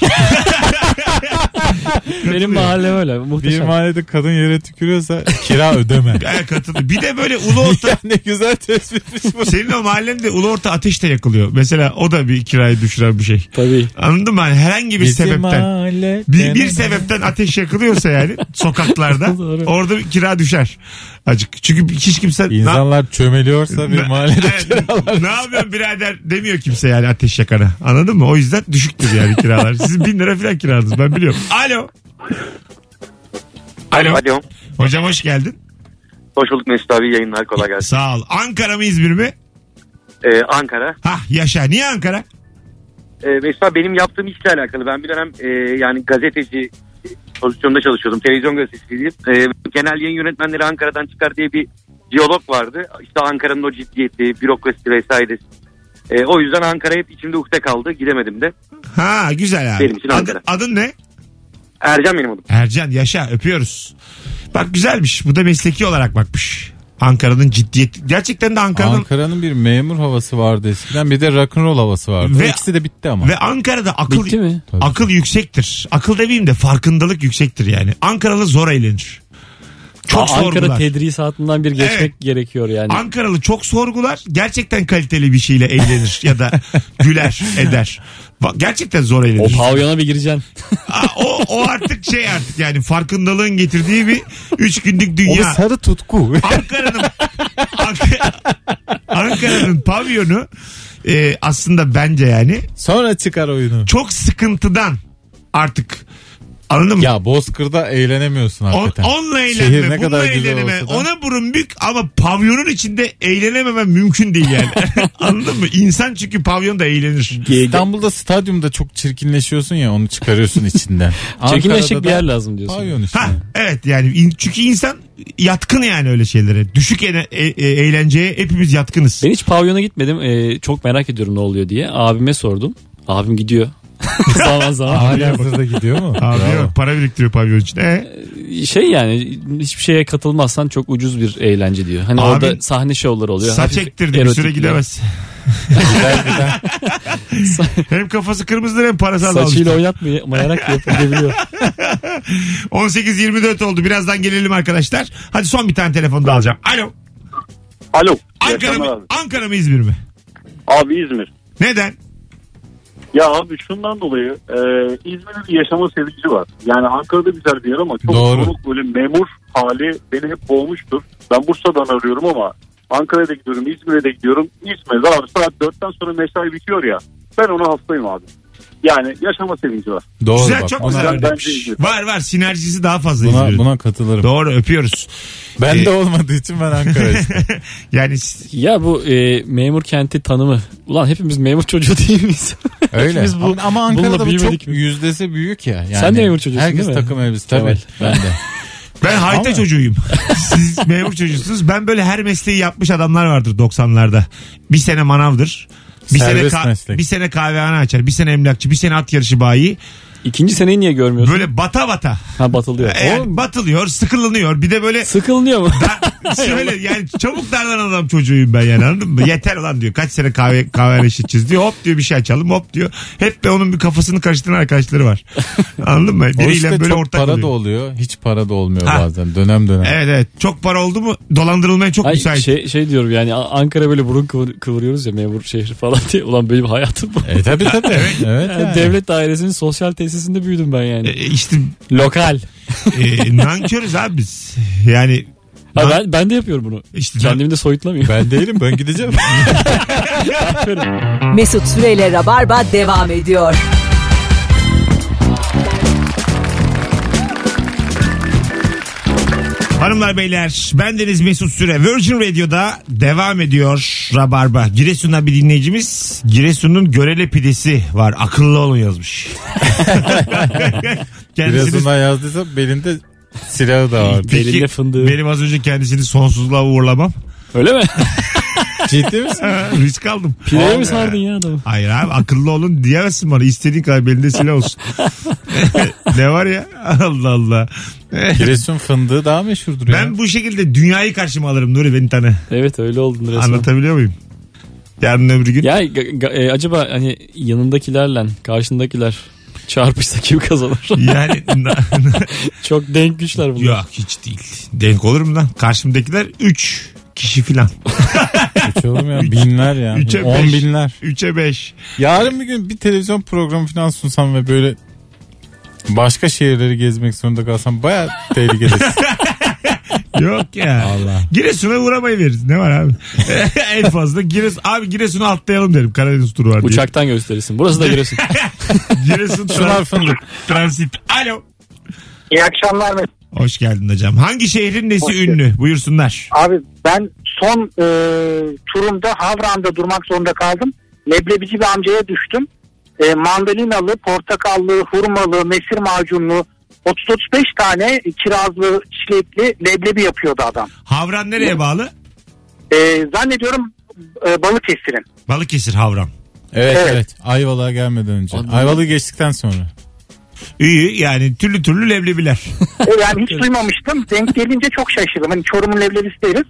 Benim mahallem öyle. Bir Muhteşem. mahallede kadın yere tükürüyorsa kira ödeme. Gaya katıldı. Bir de böyle ulu orta ne güzel tespitmiş bu. senin o mahallende ulu orta ateşte yakılıyor. Mesela o da bir kirayı düşüren bir şey. Tabii. Anladın mı? Hani herhangi bir sebepten. mahalle. Bir, bir sebepten ateş yakılıyorsa yani sokaklarda Doğru. orada bir kira düşer. Acık. Çünkü hiç kimse ne, İnsanlar çömeliyorsa bir mahallede Evet, ne yapıyorsun birader demiyor kimse yani ateş yakana. Anladın mı? O yüzden düşüktür yani kiralar. Siz bin lira falan kiradınız ben biliyorum. Alo. Alo. Alo. Hocam hoş geldin. Hoş bulduk Mesut abi. Yayınlar kolay gelsin. Sağ ol. Ankara mı İzmir mi? Ee, Ankara. Hah yaşa. Niye Ankara? Ee, Mesut abi benim yaptığım işle alakalı. Ben bir dönem e, yani gazeteci pozisyonda çalışıyordum. Televizyon gazeteciydim. Ee, genel yayın yönetmenleri Ankara'dan çıkar diye bir diyalog vardı. İşte Ankara'nın o ciddiyeti, bürokrasi vesaire. Ee, o yüzden Ankara hep içimde ukde kaldı. Gidemedim de. Ha güzel abi. Benim için Ankara. Adın, adın ne? Ercan benim adım. Ercan yaşa öpüyoruz. Bak güzelmiş. Bu da mesleki olarak bakmış. Ankara'nın ciddiyeti. Gerçekten de Ankara'nın Ankara'nın bir memur havası vardı eskiden. Bir de rock'n'roll havası vardı. Ve- İkisi de bitti ama. ve Ankara'da akıl Bitti mi? Tabii. akıl yüksektir. Akıl demeyeyim de farkındalık yüksektir yani. Ankaralı zor eğlenir. Çok Aa, Ankara sorgular. tedrisatından bir geçmek Evet. gerekiyor yani. Ankaralı çok sorgular. Gerçekten kaliteli bir şeyle eğlenir ya da güler eder. Va- Gerçekten zor o eğlenir. pavyona bir gireceksin. Aa, o, o artık şey artık yani farkındalığın getirdiği bir 3 günlük O bir dünya. sarı tutku. Ankara'nın Ank- Ankara'nın pavyonu e, aslında bence yani Sonra çıkar oyunu. çok sıkıntıdan artık anladın mı? Ya Bozkır'da eğlenemiyorsun On, hakikaten. onunla Şehir eğlenme, ne bununla kadar güzel eğlenme. olsa da. Ona burun bük ama pavyonun içinde eğlenememem mümkün değil yani. Anladın mı? İnsan çünkü pavyonda eğlenir. İstanbul'da stadyumda çok çirkinleşiyorsun ya onu çıkarıyorsun içinden. Çekinleşik bir yer Ankara'da da lazım diyorsun. Pavyon işte. Ha evet yani in- çünkü insan yatkın yani öyle şeylere. Düşük ene- e- e- eğlenceye hepimiz yatkınız. Ben hiç pavyona gitmedim. Ee, çok merak ediyorum ne oluyor diye. Abime sordum. Abim gidiyor. zaman zaman. Hala hazırda gidiyor mu? Abi Bravo. yok, para biriktiriyor pavyon için. E? şey yani hiçbir şeye katılmazsan çok ucuz bir eğlence diyor. Hani Abi, orada sahne şovları oluyor. Saç Hafif ektirdi bir süre erotik. gidemez. hem kafası kırmızıdır hem parası azalmış. Saçıyla oynatmayarak yapıp gidebiliyor. 18-24 oldu birazdan gelelim arkadaşlar. Hadi son bir tane telefon da alacağım. Alo Alo. Ankara Yaşamlar mı, abi. Ankara mı İzmir mi? Abi İzmir. Neden? Ya abi şundan dolayı e, İzmir'in bir yaşama sevinci var. Yani Ankara'da güzel bir yer ama çok Doğru. soğuk böyle memur hali beni hep boğmuştur. Ben Bursa'dan arıyorum ama Ankara'da gidiyorum, İzmir'e de gidiyorum. İzmir'de abi saat 4'ten sonra mesai bitiyor ya. Ben ona hastayım abi. Yani yaşama sevinci var. Doğru Güzel, bak. çok buna, güzel. Ben Öyle. bence İzmir. Var var sinerjisi daha fazla buna, İzmir'in. buna katılırım. Doğru öpüyoruz. Ben Ee, de olmadığı için ben Ankara'yım. yani s- Ya bu e, memur kenti tanımı. Ulan hepimiz memur çocuğu değil miyiz? Öyle. Hepimiz bu- ama, ama Ankara'da bununla bu çok büyümedik mi? yüzdesi büyük ya. Yani Sen de memur çocuğusun Herkes değil mi? takım elbise tabii. Kemal. Ben de. ben harita Ama- çocuğuyum. Siz memur çocuğusunuz. Ben böyle her mesleği yapmış adamlar vardır 90'larda. Bir sene manavdır. Bir Serbest sene, ka- meslek. bir sene kahvehane açar. Bir sene emlakçı. Bir sene at yarışı bayi. İkinci seneyi niye görmüyorsun? Böyle bata bata. Ha batılıyor. E, Yani Oğlum, batılıyor, sıkılınıyor. Bir de böyle sıkılınıyor mu? Şöyle yani çabuk darlanan adam çocuğuyum ben yani anladın mı? Yeter ulan diyor. Kaç sene kahve kahve içeceğiz diyor. Hop diyor bir şey açalım hop diyor. Hep de onun bir kafasını karıştıran arkadaşları var. Anladın mı? O Biriyle işte böyle çok ortak para da oluyor. oluyor. Hiç para da olmuyor Ha. bazen. Dönem dönem. Evet evet. Çok para oldu mu dolandırılmaya çok Ay, müsait. şey, şey diyorum yani A- Ankara böyle burun kıvır- kıvırıyoruz ya memur şehri falan diye. Ulan benim hayatım bu. E tabii tabii. evet. Yani yani. Devlet dairesinin sosyal tesisinde büyüdüm ben yani. E, işte Lokal. e, nankörüz abi biz. Yani Ha, ben, ben de yapıyorum bunu. işte Kendimi de soyutlamıyorum. Ben değilim ben gideceğim. Mesut Süreyle Rabarba devam ediyor. Hanımlar beyler ben Deniz Mesut Süre Virgin Radio'da devam ediyor Rabarba. Giresun'dan bir dinleyicimiz Giresun'un görele pidesi var akıllı olun yazmış. kendisini, Birazından yazdıysa belinde silahı da vardı. Peki, Belinde fındığı. Benim az önce kendisini sonsuzluğa uğurlamam. Öyle mi? Ciddi misin? Risk aldım. Pireye mi sardın ya adamı? Hayır abi akıllı olun diyemezsin bana. İstediğin kadar belinde silah olsun. ne var ya? Allah Allah. Giresun fındığı daha meşhurdur ya. ben bu şekilde dünyayı karşıma alırım Nuri beni tanı. Evet öyle oldun resmen. Anlatabiliyor muyum? Yarın öbür gün. Ya ga- ga- e, acaba hani yanındakilerle karşındakiler çarpışsa kim kazanır? Yani na- Çok denk güçler bunlar. yok hiç değil. Denk olur mu lan? Karşımdakiler 3 kişi filan. Hiç olur mu ya? Binler ya. Üçe On beş. binler. 3'e 5. Yarın bir gün bir televizyon programı falan sunsam ve böyle başka şehirleri gezmek zorunda kalsam baya tehlikelisin. Yok ya. Allah. Giresun'a uğramayı veririz. Ne var abi? en fazla Giresun. Abi Giresun'u atlayalım derim. Karadeniz turu var diye. Uçaktan gösterirsin. Burası da Giresun. Giresun Şunlar trans- fındık. transit. Alo. İyi akşamlar Mesut. Hoş geldin hocam. Hangi şehrin nesi Hoş ünlü? Buyursunlar. Abi ben son e, turumda Havran'da durmak zorunda kaldım. Leblebici bir amcaya düştüm. E, mandalinalı, portakallı, hurmalı, mesir macunlu 30-35 tane kirazlı, çilekli leblebi yapıyordu adam. Havran nereye bağlı? E, zannediyorum e, Balıkesir'in. Balıkesir Havran. Evet Evet. evet. Ayvalık'a gelmeden önce. Abi- Ayvalık'ı geçtikten sonra. İyi yani türlü türlü leblebiler. E, yani hiç duymamıştım. Denk gelince çok şaşırdım. Hani Çorum'un leblebisi deriz.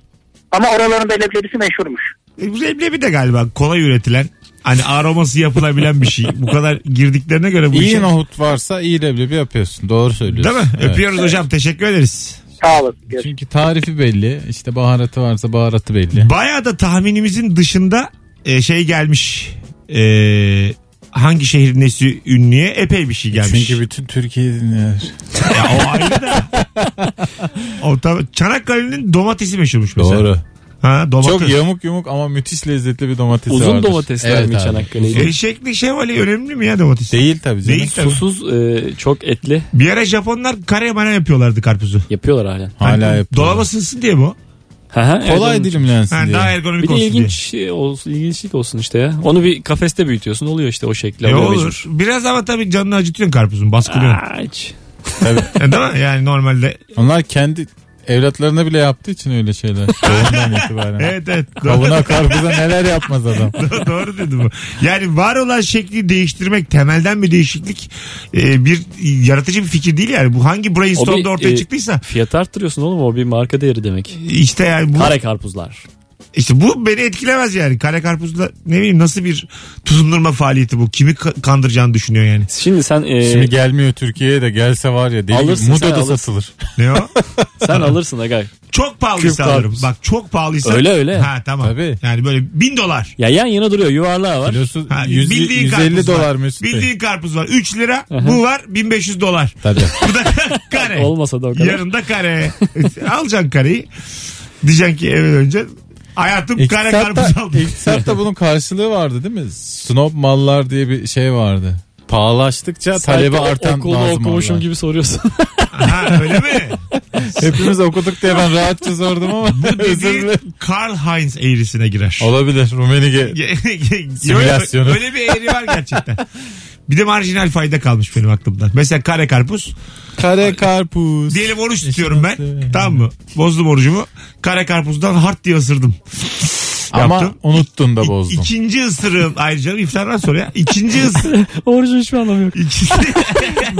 Ama oraların da leblebisi meşhurmuş. E, bu leblebi de galiba kolay üretilen hani aroması yapılabilen bir şey. Bu kadar girdiklerine göre bu işe. İyi nohut varsa iyi leblebi yapıyorsun. Doğru söylüyorsun. Değil mi? Evet. Öpüyoruz hocam. Teşekkür ederiz. Sağ olasın. Görüşürüz. Çünkü tarifi belli. İşte baharatı varsa baharatı belli. Bayağı da tahminimizin dışında e, şey gelmiş. E, hangi şehrin nesi ünlüye epey bir şey gelmiş. E, Çünkü bütün Türkiye dinler. Ya o ayrı da. O tabii- Çanakkale'nin domatesi meşhurmuş mesela. Doğru. Ha, domates. Çok yamuk yumuk ama müthiş lezzetli bir domatesi Uzun vardır. domatesler mi abi. Çanakkale'de? Uzun. Eşekli E, şevali önemli mi ya domates? Değil tabii canım. Değil tabii. Susuz e, çok etli Bir ara Japonlar karemana yapıyorlardı karpuzu. Hani yapıyorlar halen. Hala yapıyorlar. Dolaba sığsın diye mi o? Ha, ha, evet, Kolay onun- dilimlensin Ha, diye. daha ergonomik Bir de olsun ilginç şey olsun, ilginçlik olsun işte ya. Onu bir kafeste büyütüyorsun oluyor işte o şekli. diye. E, oluyor olur. mecbur. Biraz ama tabii canını acıtıyorsun karpuzun baskılıyorsun. Aa, hiç. Tabii. E, Değil mi? Yani normalde. Onlar kendi evlatlarına bile yaptığı için öyle şeyler. Doğumdan itibaren. Evet evet. Doğru, Kavuna karpuza neler yapmaz adam. doğru dedi bu. Yani var olan şekli değiştirmek temelden bir değişiklik e, bir yaratıcı bir fikir değil yani. Bu hangi O bir, brainstorm'da ortaya e, çıktıysa Fiyat arttırıyorsun oğlum o bir marka değeri demek. işte yani bu Kare karpuzlar. İşte bu beni etkilemez yani. Kare karpuzla ne bileyim nasıl bir tutundurma faaliyeti bu? Kimi ka- kandıracağını düşünüyor yani. Şimdi sen e, Şimdi gelmiyor Türkiye'ye de gelse var ya değil mi? Alırsın sen, Muda'da alırsın. satılır. Ne o? sen alırsın aga. çok pahalıysa Küp alırım. karpuz. Bak çok pahalıysa. Öyle öyle. Ha tamam. Tabii. Yani böyle bin dolar. Ya yan yana duruyor yuvarlağı var. Kilosu Ha, yüz- bildiğin 150 karpuz var. dolar Mesut Bey. Bildiğin karpuz var. 3 lira. Bu var 1500 dolar. Tabii. Bu da kare. Olmasa da o kadar. Yanında kare. Alacaksın kareyi. Diyeceksin ki eve önce hayatım kare karpuz İktisatta, aldım. iktisatta bunun karşılığı vardı değil mi? Snob mallar diye bir şey vardı. Pahalaştıkça talebe Sanki artan okulu bazı okumuşum mağazalar. gibi soruyorsun. Ha öyle mi? Hepimiz okuduk diye ben rahatça sordum ama özür Dediğin dilerim. Karl Heinz eğrisine girer. Olabilir Rumenige. Simülasyonu. Öyle bir eğri var gerçekten. Bir de marjinal fayda kalmış benim aklımdan. Mesela kare karpuz. Kare karpuz. Diyelim oruç tutuyorum ben. Tamam mı? Bozdum orucumu. Kare karpuzdan hart diye ısırdım. Ama Yaptım. unuttun da bozdun. İkinci ısırığım. Ayrıca iftardan sonra ya. İkinci ısırığım. Orucun hiçbir anlamı yok.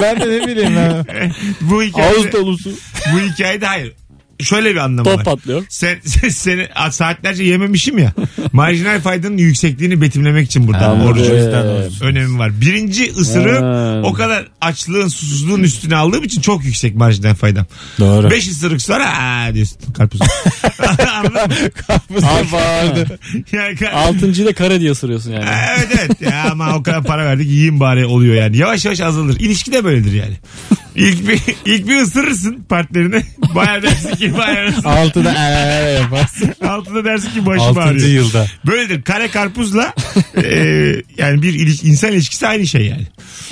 ben de ne bileyim ya. bu hikayede, Ağız dolusu. bu hikayede hayır. Şöyle bir anlamı Top var. patlıyor. Sen, sen, seni saatlerce yememişim ya. Marjinal faydanın yüksekliğini betimlemek için burada. Ha, orucun evet. önemi var. Birinci ısırığım Ha. o kadar açlığın susuzluğun üstüne aldığım için çok yüksek marjinal faydam. Doğru. Beş ısırık sonra aa diyorsun karpuz. Anladın mı? Abi bağırdı. Yani kar- Altıncıyı da kare diye soruyorsun yani. evet evet ya ama o kadar para verdik yiyeyim bari oluyor yani. Yavaş yavaş azalır. İlişki de böyledir yani. İlk bir, ilk bir ısırırsın partnerini. Bayağı dersin ki bayağı dersin. Altıda eee yaparsın. Altında dersin ki başım Altıncı ağrıyor. yılda. Böyledir. Kare karpuzla e, yani bir iliş- insan ilişkisi aynı şey yani.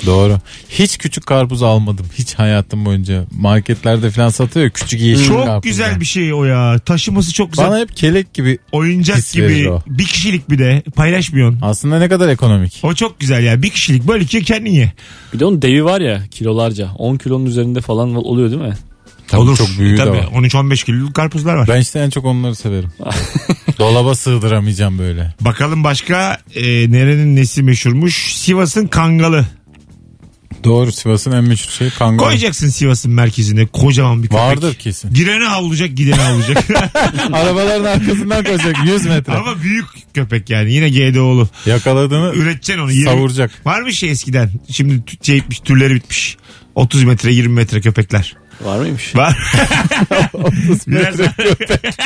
Doğru. Hiç küçük karpuz almadım. Hiç hayatım boyunca. Marketlerde falan satıyor ya, küçük yeşil Çok karpuzlar. güzel bir şey o ya. Taşıması çok güzel. Bana hep kelek gibi. Oyuncak His verir gibi. o. Bir kişilik bir de. Paylaşmıyorsun. Aslında ne kadar ekonomik. O çok güzel ya. Bir kişilik böyle ki kendin ye. Bir de onun devi var ya kilolarca. 10 kilonun üzerinde falan oluyor değil mi? Tabii Olur. E, Çok büyüğü Tabii. de var. 13-15 kiloluk karpuzlar var. Ben işte en çok onları severim. Dolaba sığdıramayacağım böyle. Bakalım başka e, nerenin nesi meşhurmuş? Sivas'ın kangalı. Doğru Sivas'ın en meşhur şeyi kangal. Koyacaksın Sivas'ın merkezine kocaman bir köpek. Vardır kesin. Gireni avlayacak gideni avlayacak. Arabaların arkasından koyacak 100 metre. Ama büyük köpek yani. Yine GDO'lu. Yakaladığını Üreteceksin onu. Yirmi- savuracak. Var mı şey eskiden? Şimdi tü- şey bitmiş, türleri bitmiş. 30 metre 20 metre köpekler. Var mıymış? Var. Biraz,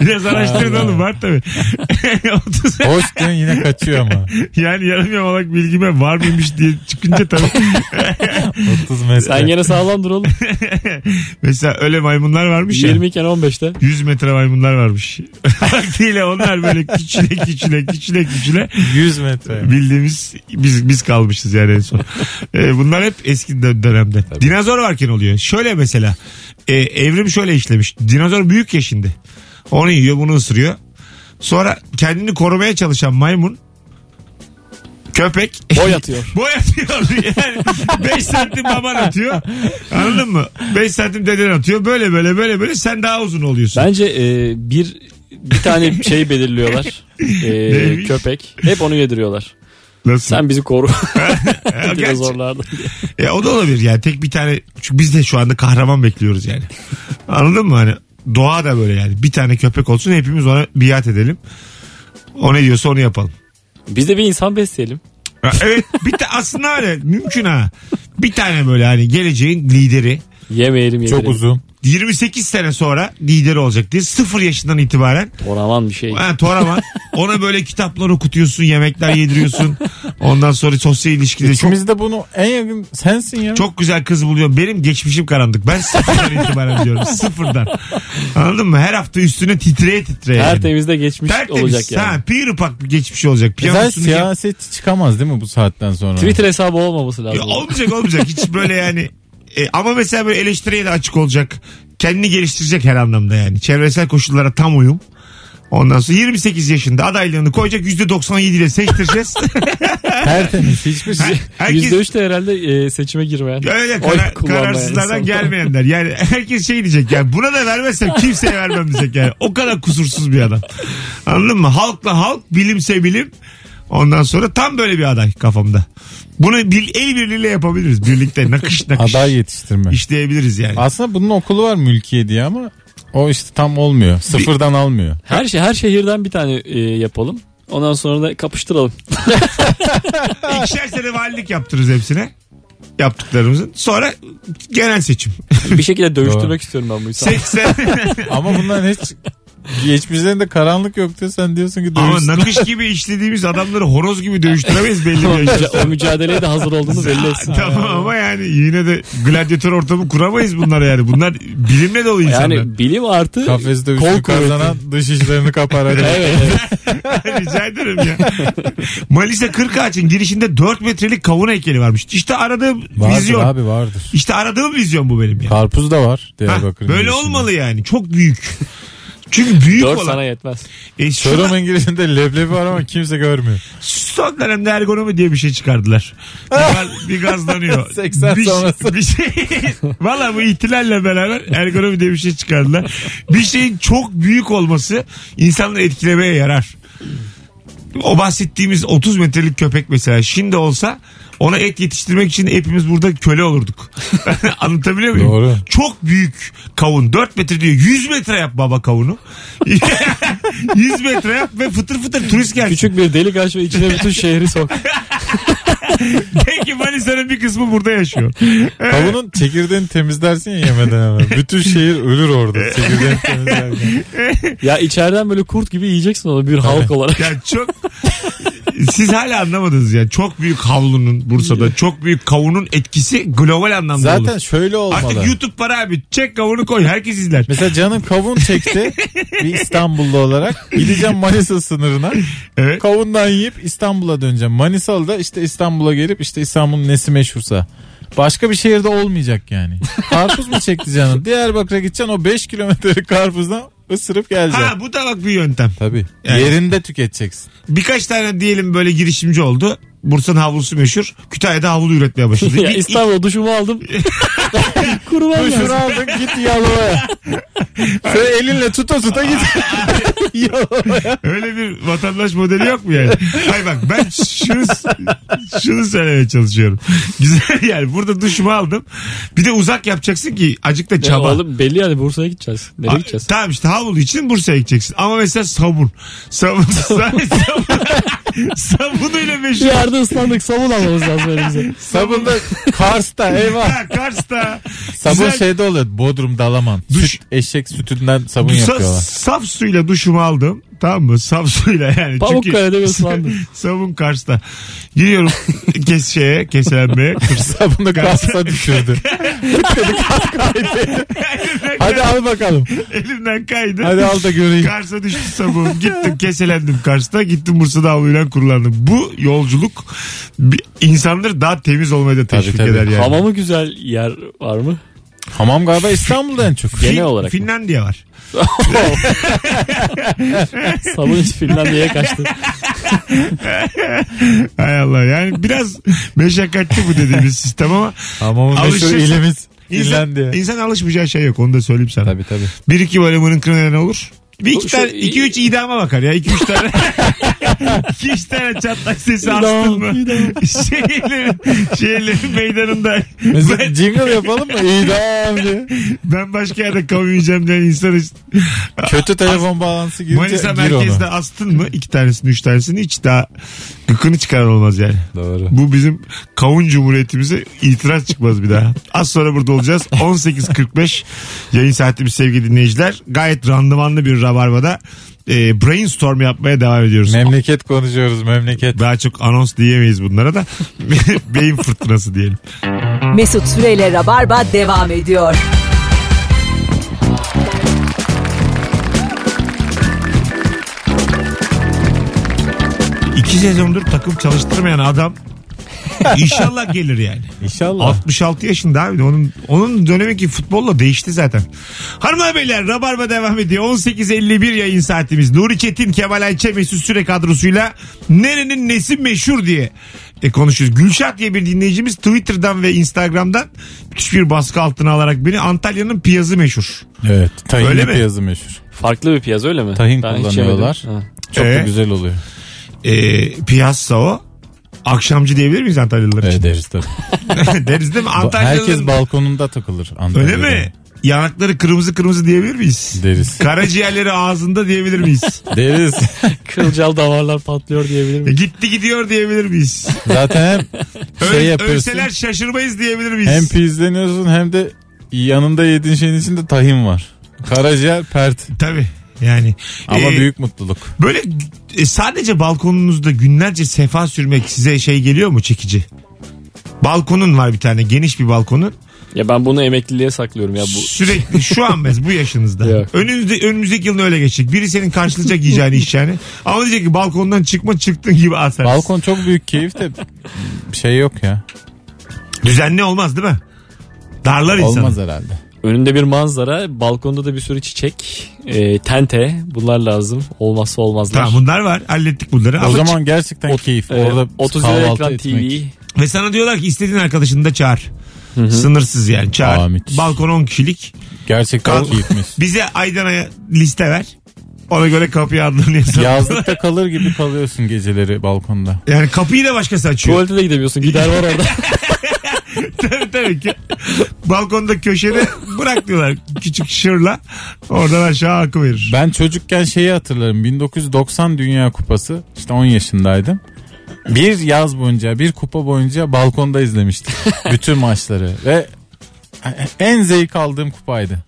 Biraz araştırın oğlum var tabii. 30 Hoş diyorsun yine kaçıyor ama. yani yarım yamalak bilgime var mıymış diye çıkınca tabii. 30 metre. Sen gene sağlam dur oğlum. Mesela öyle maymunlar varmış ya. 20 iken 15'te. 100 metre maymunlar varmış. Vaktiyle onlar böyle küçüle küçüle küçüle küçüle 100 metre. bildiğimiz biz biz kalmışız yani en son. Ee, bunlar hep eski dö- dönemde. Dinozor varken oluyor. Şöyle mesela e, evrim şöyle işlemiş. Dinozor büyük ya şimdi. Onu yiyor bunu ısırıyor. Sonra kendini korumaya çalışan maymun köpek Boy atıyor. boy atıyor yani 5 santim baban atıyor anladın mı 5 santim deden atıyor böyle böyle böyle böyle sen daha uzun oluyorsun Bence e, bir bir tane şey belirliyorlar. E, Neymiş? köpek. Hep onu yediriyorlar. Nasıl? Sen bizi koru. Ha, gerçi- Dinozorlarda. E, o da olabilir yani tek bir tane çünkü biz de şu anda kahraman bekliyoruz yani. Anladın mı hani doğa da böyle yani bir tane köpek olsun hepimiz ona biat edelim. O ne diyorsa onu yapalım. Biz de bir insan besleyelim. Ha, Evet bir ta- aslında öyle mümkün ha. Bir tane böyle hani geleceğin lideri Yemeyelim şey yemeyelim. Çok uzun. 28 sene sonra lideri olacak diye sıfır yaşından itibaren Toraman bir şey. ha, Toraman ona böyle kitaplar okutuyorsun yemekler yediriyorsun ondan sonra sosyal ilişkileri çok İçimizde bunu en yakın sensin ya. Çok güzel kız buluyorum. Benim geçmişim karanlık. Ben sıfırdan itibaren diyorum. Sıfırdan. Anladın mı? Her hafta üstüne titreye titreye. Her yani. temizde geçmiş Tertemiz. olacak yani. E Ha, pir ufak bir geçmiş olacak. Güzel Piyanosunu yap- siyasetçi çıkamaz değil mi bu saatten sonra? Twitter hesabı olmaması lazım. Ya, olmayacak olmayacak. Hiç böyle yani. E, ama mesela böyle eleştiriye de açık olacak. Kendini geliştirecek her anlamda yani. Çevresel koşullara tam uyum. Ondan sonra 28 yaşında adaylığını koyacak %97 ile seçtireceğiz. Her temiz hiçbir şey. Herkes %3 de herhalde e, seçime girmeyen. Öyle oy karar, kullanmayan kararsızlardan insan. gelmeyenler. Yani herkes şey diyecek yani buna da vermezsem kimseye vermem diyecek yani. O kadar kusursuz bir adam. Anladın mı? Halkla halk, bilimse bilim. Ondan sonra tam böyle bir aday kafamda. Bunu bil, el birliğiyle yapabiliriz. Birlikte nakış nakış Aday yetiştirme. işleyebiliriz yani. Aslında bunun okulu var mülkiye diye ama o işte tam olmuyor. Sıfırdan almıyor. Her şey her şehirden bir tane e, yapalım. Ondan sonra da kapıştıralım. İkişer sene valilik yaptırırız hepsine. Yaptıklarımızın. Sonra genel seçim. Bir şekilde dövüştürmek Doğru. istiyorum ben bu insanı. 80 Ama bunların hiç Geçmişlerinde karanlık yok diyor. Sen diyorsun ki Ama dövüşsün. nakış gibi işlediğimiz adamları horoz gibi dövüştüremeyiz belli bir yaşta. o mücadeleye de hazır olduğunu belli etsin. tamam ama yani yine de gladyatör ortamı kuramayız bunlara yani. Bunlar bilimle dolu insanlar. Yani bilim artı Kafes dövüşünü kol kuvveti. kazanan dış işlerini kapar. Evet, evet. Rica ederim ya. Malise 40 ağaçın girişinde 4 metrelik kavun heykeli varmış. İşte aradığım Vardır vizyon. abi vardır. İşte aradığım vizyon bu benim ya. Karpuz da var Hah, Diyarbakır'ın. böyle girişinde. olmalı yani. Çok büyük. Çünkü büyük Dört sana olan. yetmez. E, şu- Çorum'un girişinde leblebi var ama kimse görmüyor. son dönemde ergonomi diye bir şey çıkardılar. Bir, gaz- bir gazlanıyor. 80 bir, sonrası. Bir şey, valla bu ihtilalle beraber ergonomi diye bir şey çıkardılar. Bir şeyin çok büyük olması insanları etkilemeye yarar. O bahsettiğimiz 30 metrelik köpek mesela şimdi olsa ona et yetiştirmek için hepimiz burada köle olurduk. Anlatabiliyor muyum? Doğru. Çok büyük kavun. 4 metre diyor. 100 metre yap baba kavunu. 100 metre yap ve fıtır fıtır turist gelsin. Küçük bir delik aç ve içine bütün şehri sok. Peki Manisa'nın bir kısmı burada yaşıyor. Kavunun çekirdeğini temizlersin ya yemeden hemen. Bütün şehir ölür orada çekirdeğini temizlerken. Ya içeriden böyle kurt gibi yiyeceksin onu bir halk olarak. Yani çok siz hala anlamadınız ya. Çok büyük havlunun Bursa'da çok büyük kavunun etkisi global anlamda olur. Zaten şöyle olmalı. Artık YouTube para abi. Çek kavunu koy. Herkes izler. Mesela canım kavun çekti bir İstanbullu olarak. Gideceğim Manisa sınırına. Evet. Kavundan yiyip İstanbul'a döneceğim. Manisalı'da işte İstanbul'a gelip işte İstanbul'un nesi meşhursa. Başka bir şehirde olmayacak yani. Karpuz mu çekti canım? Diyarbakır'a gideceksin o 5 kilometrelik karpuzdan ısırıp geleceksin. Ha bu da bak bir yöntem. Tabii. Yani- Yerinde tüketeceksin. Birkaç tane diyelim böyle girişimci oldu. Bursa'nın havlusu meşhur. Kütahya'da havlu üretmeye başladı. ya İ- İstanbul duşumu aldım. Kurban Duşunu lazım. aldın git Yalova'ya. Şöyle elinle tuta tuta git. Öyle bir vatandaş modeli yok mu yani? Hayır bak ben şunu şunu söylemeye çalışıyorum. Güzel yani burada duşumu aldım. Bir de uzak yapacaksın ki acık da Ya çaba. Oğlum belli yani Bursa'ya gideceğiz. Nereye gideceğiz? Tamam işte havlu için Bursa'ya gideceksin. Ama mesela sabun. Sabun. sabun. Sabunuyla Bir meşhur. yerde ıslandık savun almamız lazım elimize. Sabunda Kars'ta eyvah. Ha, Kars'ta. Sabun Güzel. şeyde oluyor. Bodrum dalaman. Duş- Süt, eşek sütünden sabun Sa- yapıyorlar. saf suyla duşumu aldım. Tamam mı? Saf suyla yani. Pamukkale'de bir ıslandım. Sabun Kars'ta. Giriyorum kes şeye, keselenmeye. Sabunda Kars'ta düşürdü. Hadi al bakalım. Elimden kaydı. Hadi al da göreyim. Kars'a düştü sabun. Gittim keselendim Kars'ta. Gittim Bursa'da havluyla kurulandım. Bu yolculuk bir- insanları daha temiz olmaya da teşvik tabii. eder yani. Hamamı güzel yer var mı? Hamam galiba İstanbul'da en çok. Fin- Genel olarak. mı? Finlandiya var. Sabun hiç Finlandiya'ya kaçtı. Hay Allah yani biraz meşakkatli bu dediğimiz sistem ama Hamamın meşhur Alışırsın. ilimiz. insan, İrlandiya. insan alışmayacağı şey yok onu da söyleyeyim sana. Tabii tabii. Bir iki bölümünün kırılana ne olur? Bir iki Şu- tane, iki üç idama bakar ya. İki üç tane. iki üç tane çatlak sesi İdam, astın mı? idam. Şehirlerin, şehirlerin meydanında. Ben, Mesela jingle yapalım mı? İdam diye. ben başka yerde kavmayacağım diyen insan Kötü telefon bağlantısı girince Manisa gir onu. merkezde astın mı? iki tanesini, üç tanesini hiç daha gıkını çıkaran olmaz yani. Doğru. Bu bizim kavun cumhuriyetimize itiraz çıkmaz bir daha. Az sonra burada olacağız. 18.45 yayın saatimiz sevgili dinleyiciler. Gayet randımanlı bir rabarbada e, brainstorm yapmaya devam ediyoruz. Memleket konuşuyoruz memleket. daha çok anons diyemeyiz bunlara da. Beyin fırtınası diyelim. Mesut Süreyle Rabarba devam ediyor. İki sezondur takım çalıştırmayan adam İnşallah gelir yani. İnşallah. 66 yaşında abi de onun onun dönemiki futbolla değişti zaten. Hanımlar beyler Rabarba devam ediyor. 18.51 yayın saatimiz. Nuri Çetin, Kemal Ayçe, Mesut Süre kadrosuyla nerenin nesi meşhur diye e, konuşuyoruz. Gülşah diye bir dinleyicimiz Twitter'dan ve Instagram'dan müthiş bir baskı altına alarak beni Antalya'nın piyazı meşhur. Evet. Tahinli Öyle mi? piyazı meşhur. Farklı bir piyaz öyle mi? Tahin Ben hiç kullanıyorlar. yemedim. Ha. Çok da Ee? güzel oluyor. E, piyazsa o. Akşamcı diyebilir miyiz Antalyalılar için? Evet deriz tabii. Deriz değil mi? Ba- Herkes Antalyalıların balkonunda takılır. Antalya'da. öyle mi? Yanakları kırmızı kırmızı diyebilir miyiz? Deriz. Karaciğerleri ağzında diyebilir miyiz? Deriz. Kılcal damarlar patlıyor diyebilir E, miyim? Gitti gidiyor diyebilir miyiz? Zaten hem Öl, şey yapıyorsun. ölseler şaşırmayız diyebilir miyiz? Hem pizleniyorsun hem de yanında yediğin şeyin içinde tahin var. Karaciğer pert. Tabii. Yani Ama e, büyük mutluluk. böyle e, sadece balkonunuzda günlerce sefa sürmek size şey geliyor mu çekici? Balkonun var bir tane geniş bir balkonun. Ya ben bunu emekliliğe saklıyorum ya bu. Sürekli şu an mes bu yaşınızda. Yok. Önünüzde önümüzdeki yılını öyle geçecek. Biri senin karşılayacak yiyeceğini içeceğini. Ama diyecek ki balkondan çıkma çıktın gibi atar. Balkon çok büyük keyif de şey yok ya. Düzenli olmaz değil mi? Darlar insanı. Olmaz herhalde. Önünde bir manzara, balkonda da bir sürü çiçek, e, tente bunlar lazım. Olmazsa olmazlar. Tamam bunlar var. Hallettik bunları. O Ama çık- zaman gerçekten Ot- keyif. e, Orada 30 lira kahvaltı ekran etmek. TV. Ve sana diyorlar ki istediğin arkadaşını da çağır. Sınırsız yani çağır. Aa, müthiş. Balkon 10 kişilik. Gerçekten Kal- keyifmiş. Bize Aydana'ya liste ver. Ona göre kapıyı adlarını yazalım. Yazlıkta kalır gibi kalıyorsun geceleri balkonda. Yani kapıyı da başkası açıyor. Tuvalete de gidemiyorsun. Gider var orada. tabii tabii ki. Balkonda köşede bırak diyorlar. Küçük şırla. Oradan aşağı akı verir. Ben çocukken şeyi hatırlarım. 1990 Dünya Kupası. işte 10 yaşındaydım. Bir yaz boyunca, bir kupa boyunca balkonda izlemiştim. Bütün maçları. Ve en zevk aldığım kupaydı.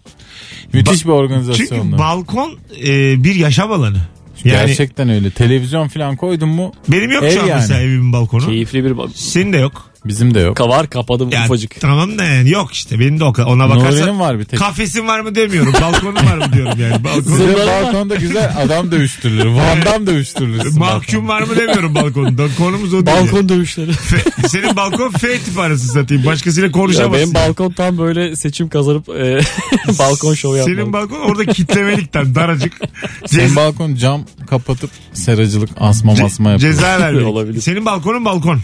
Müthiş bir Çünkü organizasyondu. balkon e, bir yaşam alanı. Yani Gerçekten öyle. Televizyon falan koydum mu benim yok Ev şu an yani. mesela evimin balkonu. Keyifli bir bal- Senin de yok. bizim de yok. Kavar kapadım Ya, ufacık. Tamam da yani yok işte benim de o kadar. Ona bakarsan Nuri'nin var bir tek. kafesin var mı demiyorum. Balkonun var mı diyorum yani. Balkonun Sizin Zırhları var. balkonda güzel adam dövüştürülür. Van'dan dövüştürülürsün. Mahkum var mı demiyorum balkonda. Konumuz o değil. Balkon dövüşleri. Fe- Senin balkon F tip arası satayım. Başkasıyla Ya konuşamazsın. benim balkon tam böyle seçim kazanıp e, balkon şovu yapmam. Senin balkon orada kitlemelikten daracık. Senin Cez- balkon cam kapatıp seracılık asma ce- masma yapıyor. ceza vermek. Olabilir. Senin balkonun balkon.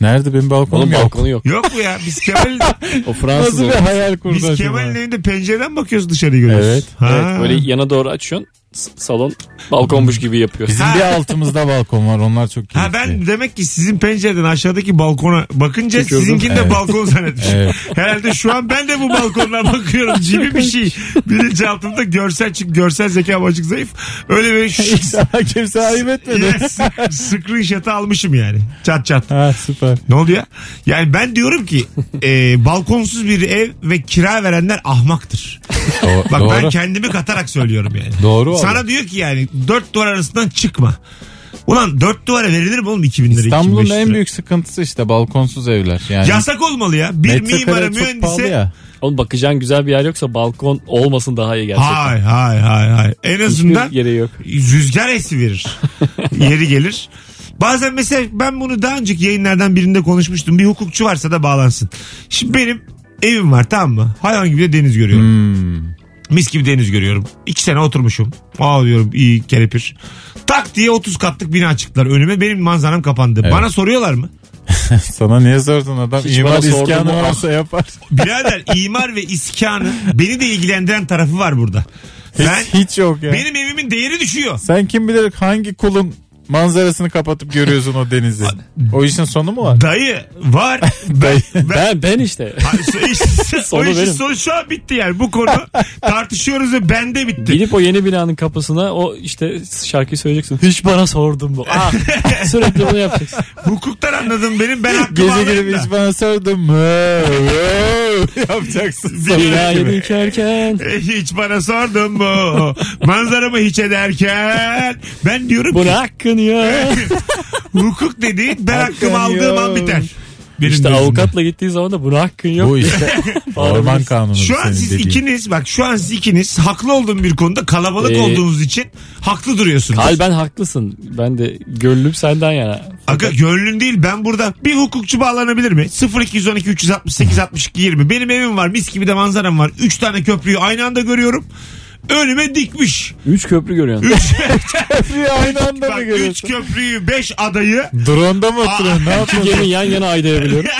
Nerede benim balkonum Onun yok. balkonu yok. Yok mu ya? Biz Kemal O Fransız. o. hayal kurdu biz Kemal'in evinde pencereden bakıyoruz dışarı görüyoruz. Evet. Ha. Evet, böyle yana doğru açıyorsun. s- Salon balkonmuş gibi yapıyor. Bizim bir altımızda balkon var onlar çok keyifli. Ha ben demek ki sizin pencereden aşağıdaki balkona bakınca Bakıyordum. sizinkini de Evet. balkon zannetmişim. Evet. Herhalde şu an ben de bu balkondan bakıyorum gibi bir şey. Bilinçaltımda görsel çünkü görsel zeka açık zayıf. Öyle bir ş- kimse ayıp etmedi. Yes. Screenshot'ı almışım yani. Çat çat. ha süper. Ne oldu ya? Yani ben diyorum ki e, balkonsuz bir ev ve kira verenler ahmaktır. Do- Bak doğru. ben kendimi katarak söylüyorum yani. Doğru abi. Sana diyor ki yani dört duvar arasından çıkma. Ulan dört duvara verilir mi oğlum 2000 lira? İstanbul'un 2500 en lira? büyük sıkıntısı işte balkonsuz evler. Yani Yasak olmalı ya. Bir metrekare mimara çok pahalı mühendise. ya. Oğlum bakacağın güzel bir yer yoksa balkon olmasın daha iyi gerçekten. Hay hay hay hay. En azından Hiçbir yeri yok. rüzgar esi verir. Yeri gelir. Bazen mesela ben bunu daha önceki yayınlardan birinde konuşmuştum. Bir hukukçu varsa da bağlansın. Şimdi benim evim var tamam mı? Hayvan gibi de deniz görüyorum. Hmm. Mis gibi deniz görüyorum. İki sene oturmuşum. Aa diyorum iyi kelepir. Tak diye 30 katlık bina çıktılar önüme. Benim manzaram kapandı. Evet. Bana soruyorlar mı? Sana niye sordun adam? Hiç İmar bana sordun iskanı mu? varsa yapar. Birader imar ve iskanın beni de ilgilendiren tarafı var burada. Hiç, Ben, hiç yok ya. benim evimin değeri düşüyor. Sen kim bilir hangi kulun manzarasını kapatıp görüyorsun o denizi. O işin sonu mu var? Dayı var. Ben, ben, Ben ben işte. Ay, işte, Sonu o işin benim. sonu şu an bitti yani. Bu konu tartışıyoruz ve bende bitti. Gidip o yeni binanın kapısına o işte şarkıyı söyleyeceksin. Hiç bana sordun mu? Ah, sürekli bunu yapacaksın. Hukuktan anladım benim. Ben hakkımı Gece alayım gelip da. hiç bana sordun mu? Yapacaksın. sonra. Binayı dikerken E, Hiç bana sordun mu? Manzaramı hiç ederken. Ben diyorum ki buna hakkın ya. hukuk dediğin ben hakkımı Hakkın aldığım an yok. biter. Benim işte gözümde. avukatla gittiği zaman da buna hakkın yok. Bu işte orman kanunu. Şu an senin siz dediğin. ikiniz bak şu an siz ikiniz haklı olduğum bir konuda kalabalık Ee, olduğunuz için haklı duruyorsunuz. Kalben haklısın. Ben de gönlüm senden yana. Aga gönlüm değil ben burada bir hukukçu bağlanabilir mi? 0212 368 62 20 benim evim var mis gibi de manzaram var. 3 tane köprüyü aynı anda görüyorum. Önüme dikmiş. Üç köprü görüyorsun. 3 Köprüyü aynı anda mı üç görüyorsun? köprüyü 5 adayı Drone'da mı oturuyorsun? Ne İki yapıyorsun? gemi yan yana aydayabiliyorum.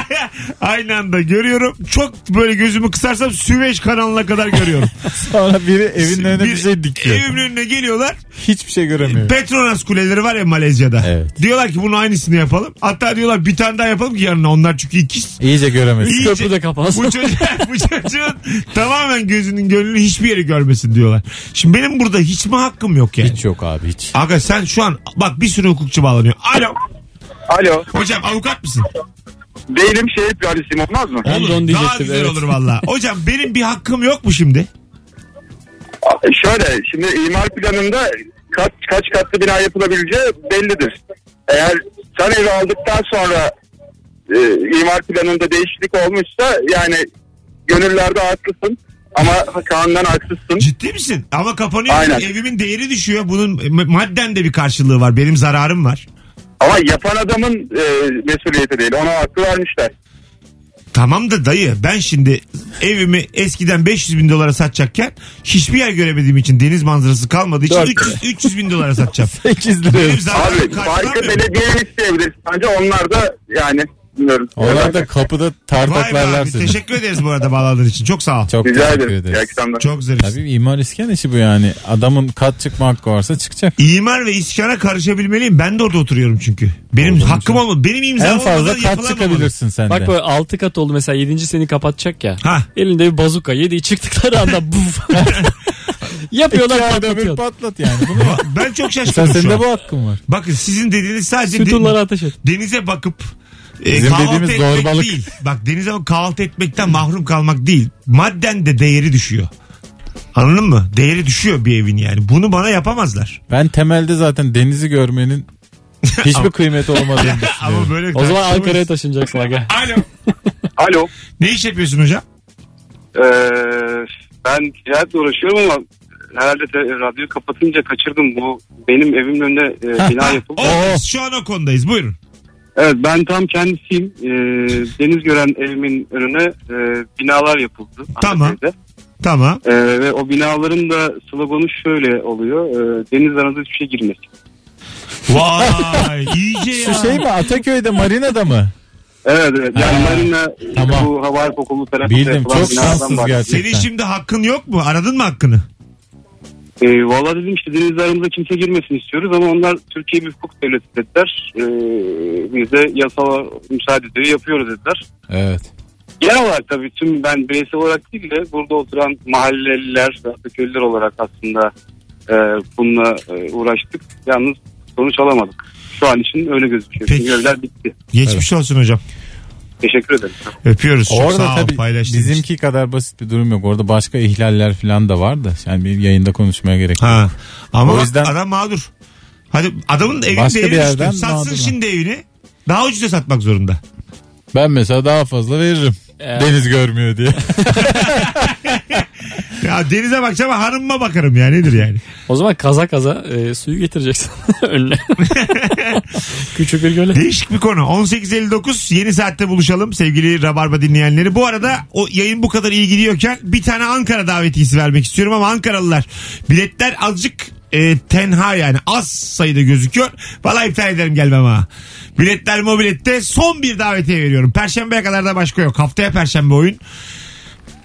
aynı anda görüyorum. Çok böyle gözümü kısarsam Süveyş kanalına kadar görüyorum. Sonra biri evin önüne bir şey dikiyor. Evimin önüne geliyorlar. Hiçbir şey göremiyor. Petronas kuleleri var ya Malezya'da. Evet. Diyorlar ki bunun aynısını yapalım. Hatta diyorlar bir tane daha yapalım ki yanına onlar çünkü ikiz. İyice göremez. İyice- Köprü de Bu, kapansın. çocuğa- bu çocuğun tamamen gözünün gönlünü hiçbir yeri görmesin diyorlar. Şimdi benim burada hiç mi hakkım yok yani? Hiç yok abi hiç. Aga sen şu an bak bir sürü hukukçu bağlanıyor. Alo. Alo. Hocam avukat mısın? Değilim şey hep resim olmaz mı? Ben de onu Olur. Daha diyecektim. güzel evet. olur valla. Hocam benim bir hakkım yok mu şimdi? E, Şöyle şimdi imar planında kaç, kaç katlı bina yapılabileceği bellidir. Eğer sen evi aldıktan sonra e, imar planında değişiklik olmuşsa yani gönüllerde haklısın ama kanundan haksızsın. Ciddi misin? Ama kapanıyor. Aynen. Evimin değeri düşüyor. Bunun ma- madden de bir karşılığı var. Benim zararım var. Ama yapan adamın e, mesuliyeti değil. Ona hakkı vermişler. Tamam da dayı ben şimdi evimi eskiden 500 bin dolara satacakken hiçbir yer göremediğim için deniz manzarası kalmadığı için Dört 300, 300 bin dolara satacağım. 8 lira. Benim zararım Abi farkı karşılanmıyor. belediye isteyebilir. Bence onlar da yani bilmiyorum. Onlar da kapıda Vay be tartaklarlar abi, seni. teşekkür ederiz bu arada bağladığın için. Çok sağ ol. Çok Rica teşekkür ederim. İyi ederiz. akşamlar. Çok zarifsin. Tabii imar iskan işi bu yani. Adamın kat çıkma hakkı varsa çıkacak. İmar ve iskana karışabilmeliyim. Ben de orada oturuyorum çünkü. Benim Orada hakkım olmadı. Benim imzam en fazla olmadan kat yapılamamalı. çıkabilirsin sen Bak de. böyle 6 kat oldu mesela 7. seni kapatacak ya. Ha. Elinde bir bazuka 7'yi çıktıkları anda buf. Yapıyorlar İki ayda bir patlatıyor. patlat yani. Bunu Ama ben çok sen şaşkınım şu sende an. bu hakkın var. Bakın sizin dediğiniz sadece Sütunlara ateş et. denize bakıp e, Bizim kahvaltı dediğimiz etmek zorbalık. değil. Bak denize bak- kahvaltı etmekten mahrum kalmak değil. Madden de değeri düşüyor. Anladın mı? Değeri düşüyor bir evin yani. Bunu bana yapamazlar. Ben temelde zaten denizi görmenin hiçbir kıymeti olmadığını Ama düşünüyorum. böyle O zaman tartışılır. Ankara'ya taşınacaksın aga. Alo. Alo. Ne iş yapıyorsun hocam? Ee, ben ticaretle uğraşıyorum ama herhalde radyoyu kapatınca kaçırdım. Bu benim evimin önünde bina yapıldı. O, Ah, şu an o konudayız. Buyurun. Evet ben tam kendisiyim. Ee, deniz gören evimin önüne e, binalar yapıldı. Tamam. Ankara'da. Tamam. Ee, ve o binaların da sloganı şöyle oluyor. E, deniz aranızda hiçbir şey girmez. Vay iyice ya. Şu şey mi Ataköy'de marinada mı? Evet evet. Yani Ha. Marina işte Tamam. bu hava okulu tarafında Bildim yapılan çok binalardan şanssız bahsediyor. gerçekten. Senin şimdi hakkın yok mu? Aradın mı hakkını? Ee, Valla dedim işte deniz aramıza kimse girmesin istiyoruz ama onlar Türkiye bir hukuk devleti dediler. Ee, biz de yasal müsaade ediyor yapıyoruz dediler. Evet. Genel olarak tabii tüm ben bireysel olarak değil de burada oturan mahalleliler, köylüler olarak aslında e, bununla e, uğraştık. Yalnız sonuç alamadık. Şu an için öyle gözüküyor. Peki. Çünkü evler bitti. Geçmiş olsun hocam. Teşekkür ederim. Öpüyoruz. Çok Orada sağ ol tabii paylaştığın için. bizimki kadar basit bir durum yok. Orada başka ihlaller falan da var da. Yani bir yayında konuşmaya gerek yok. Ha. Ama O bak, yüzden- adam mağdur. Hadi adamın evinin Başka değeri bir yerden düştü. Satsın mağdur. şimdi evini. Daha ucuza satmak zorunda. Ben mesela daha fazla veririm. Deniz görmüyor diye. Ya denize bakacağım ama hanımıma bakarım ya nedir yani. O zaman kaza kaza e, suyu getireceksin önüne. Küçük bir göle. Değişik bir konu. 18.59 yeni saatte buluşalım sevgili Rabarba dinleyenleri. Bu arada o yayın bu kadar iyi gidiyorken bir tane Ankara davetiyesi vermek istiyorum ama Ankaralılar biletler azıcık e, tenha yani az sayıda gözüküyor. Vallahi iptal ederim gelmem ha. Biletler mobilette son bir davetiye veriyorum. Perşembeye kadar da başka yok. Haftaya perşembe oyun.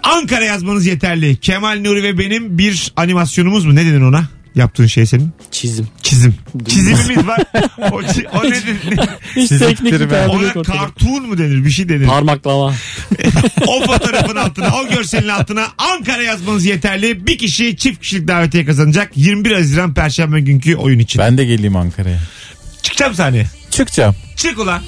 Ankara yazmanız yeterli. Kemal Nuri ve benim bir animasyonumuz mu? Ne denir ona? Yaptığın şey senin. Çizim. Çizim. Çizimimiz var. O, çi- o ne denir? Hiç Çizim teknik bir bitirme. tabir Ona yok ortada. kartun mu denir bir şey denir. Parmaklama. o fotoğrafın altına o görselin altına Ankara yazmanız yeterli. Bir kişi çift kişilik davetiye kazanacak 21 Haziran Perşembe günkü oyun için. ben de geleyim Ankara'ya. Çıkacağım sahneye. Çıkacağım. Çık ulan.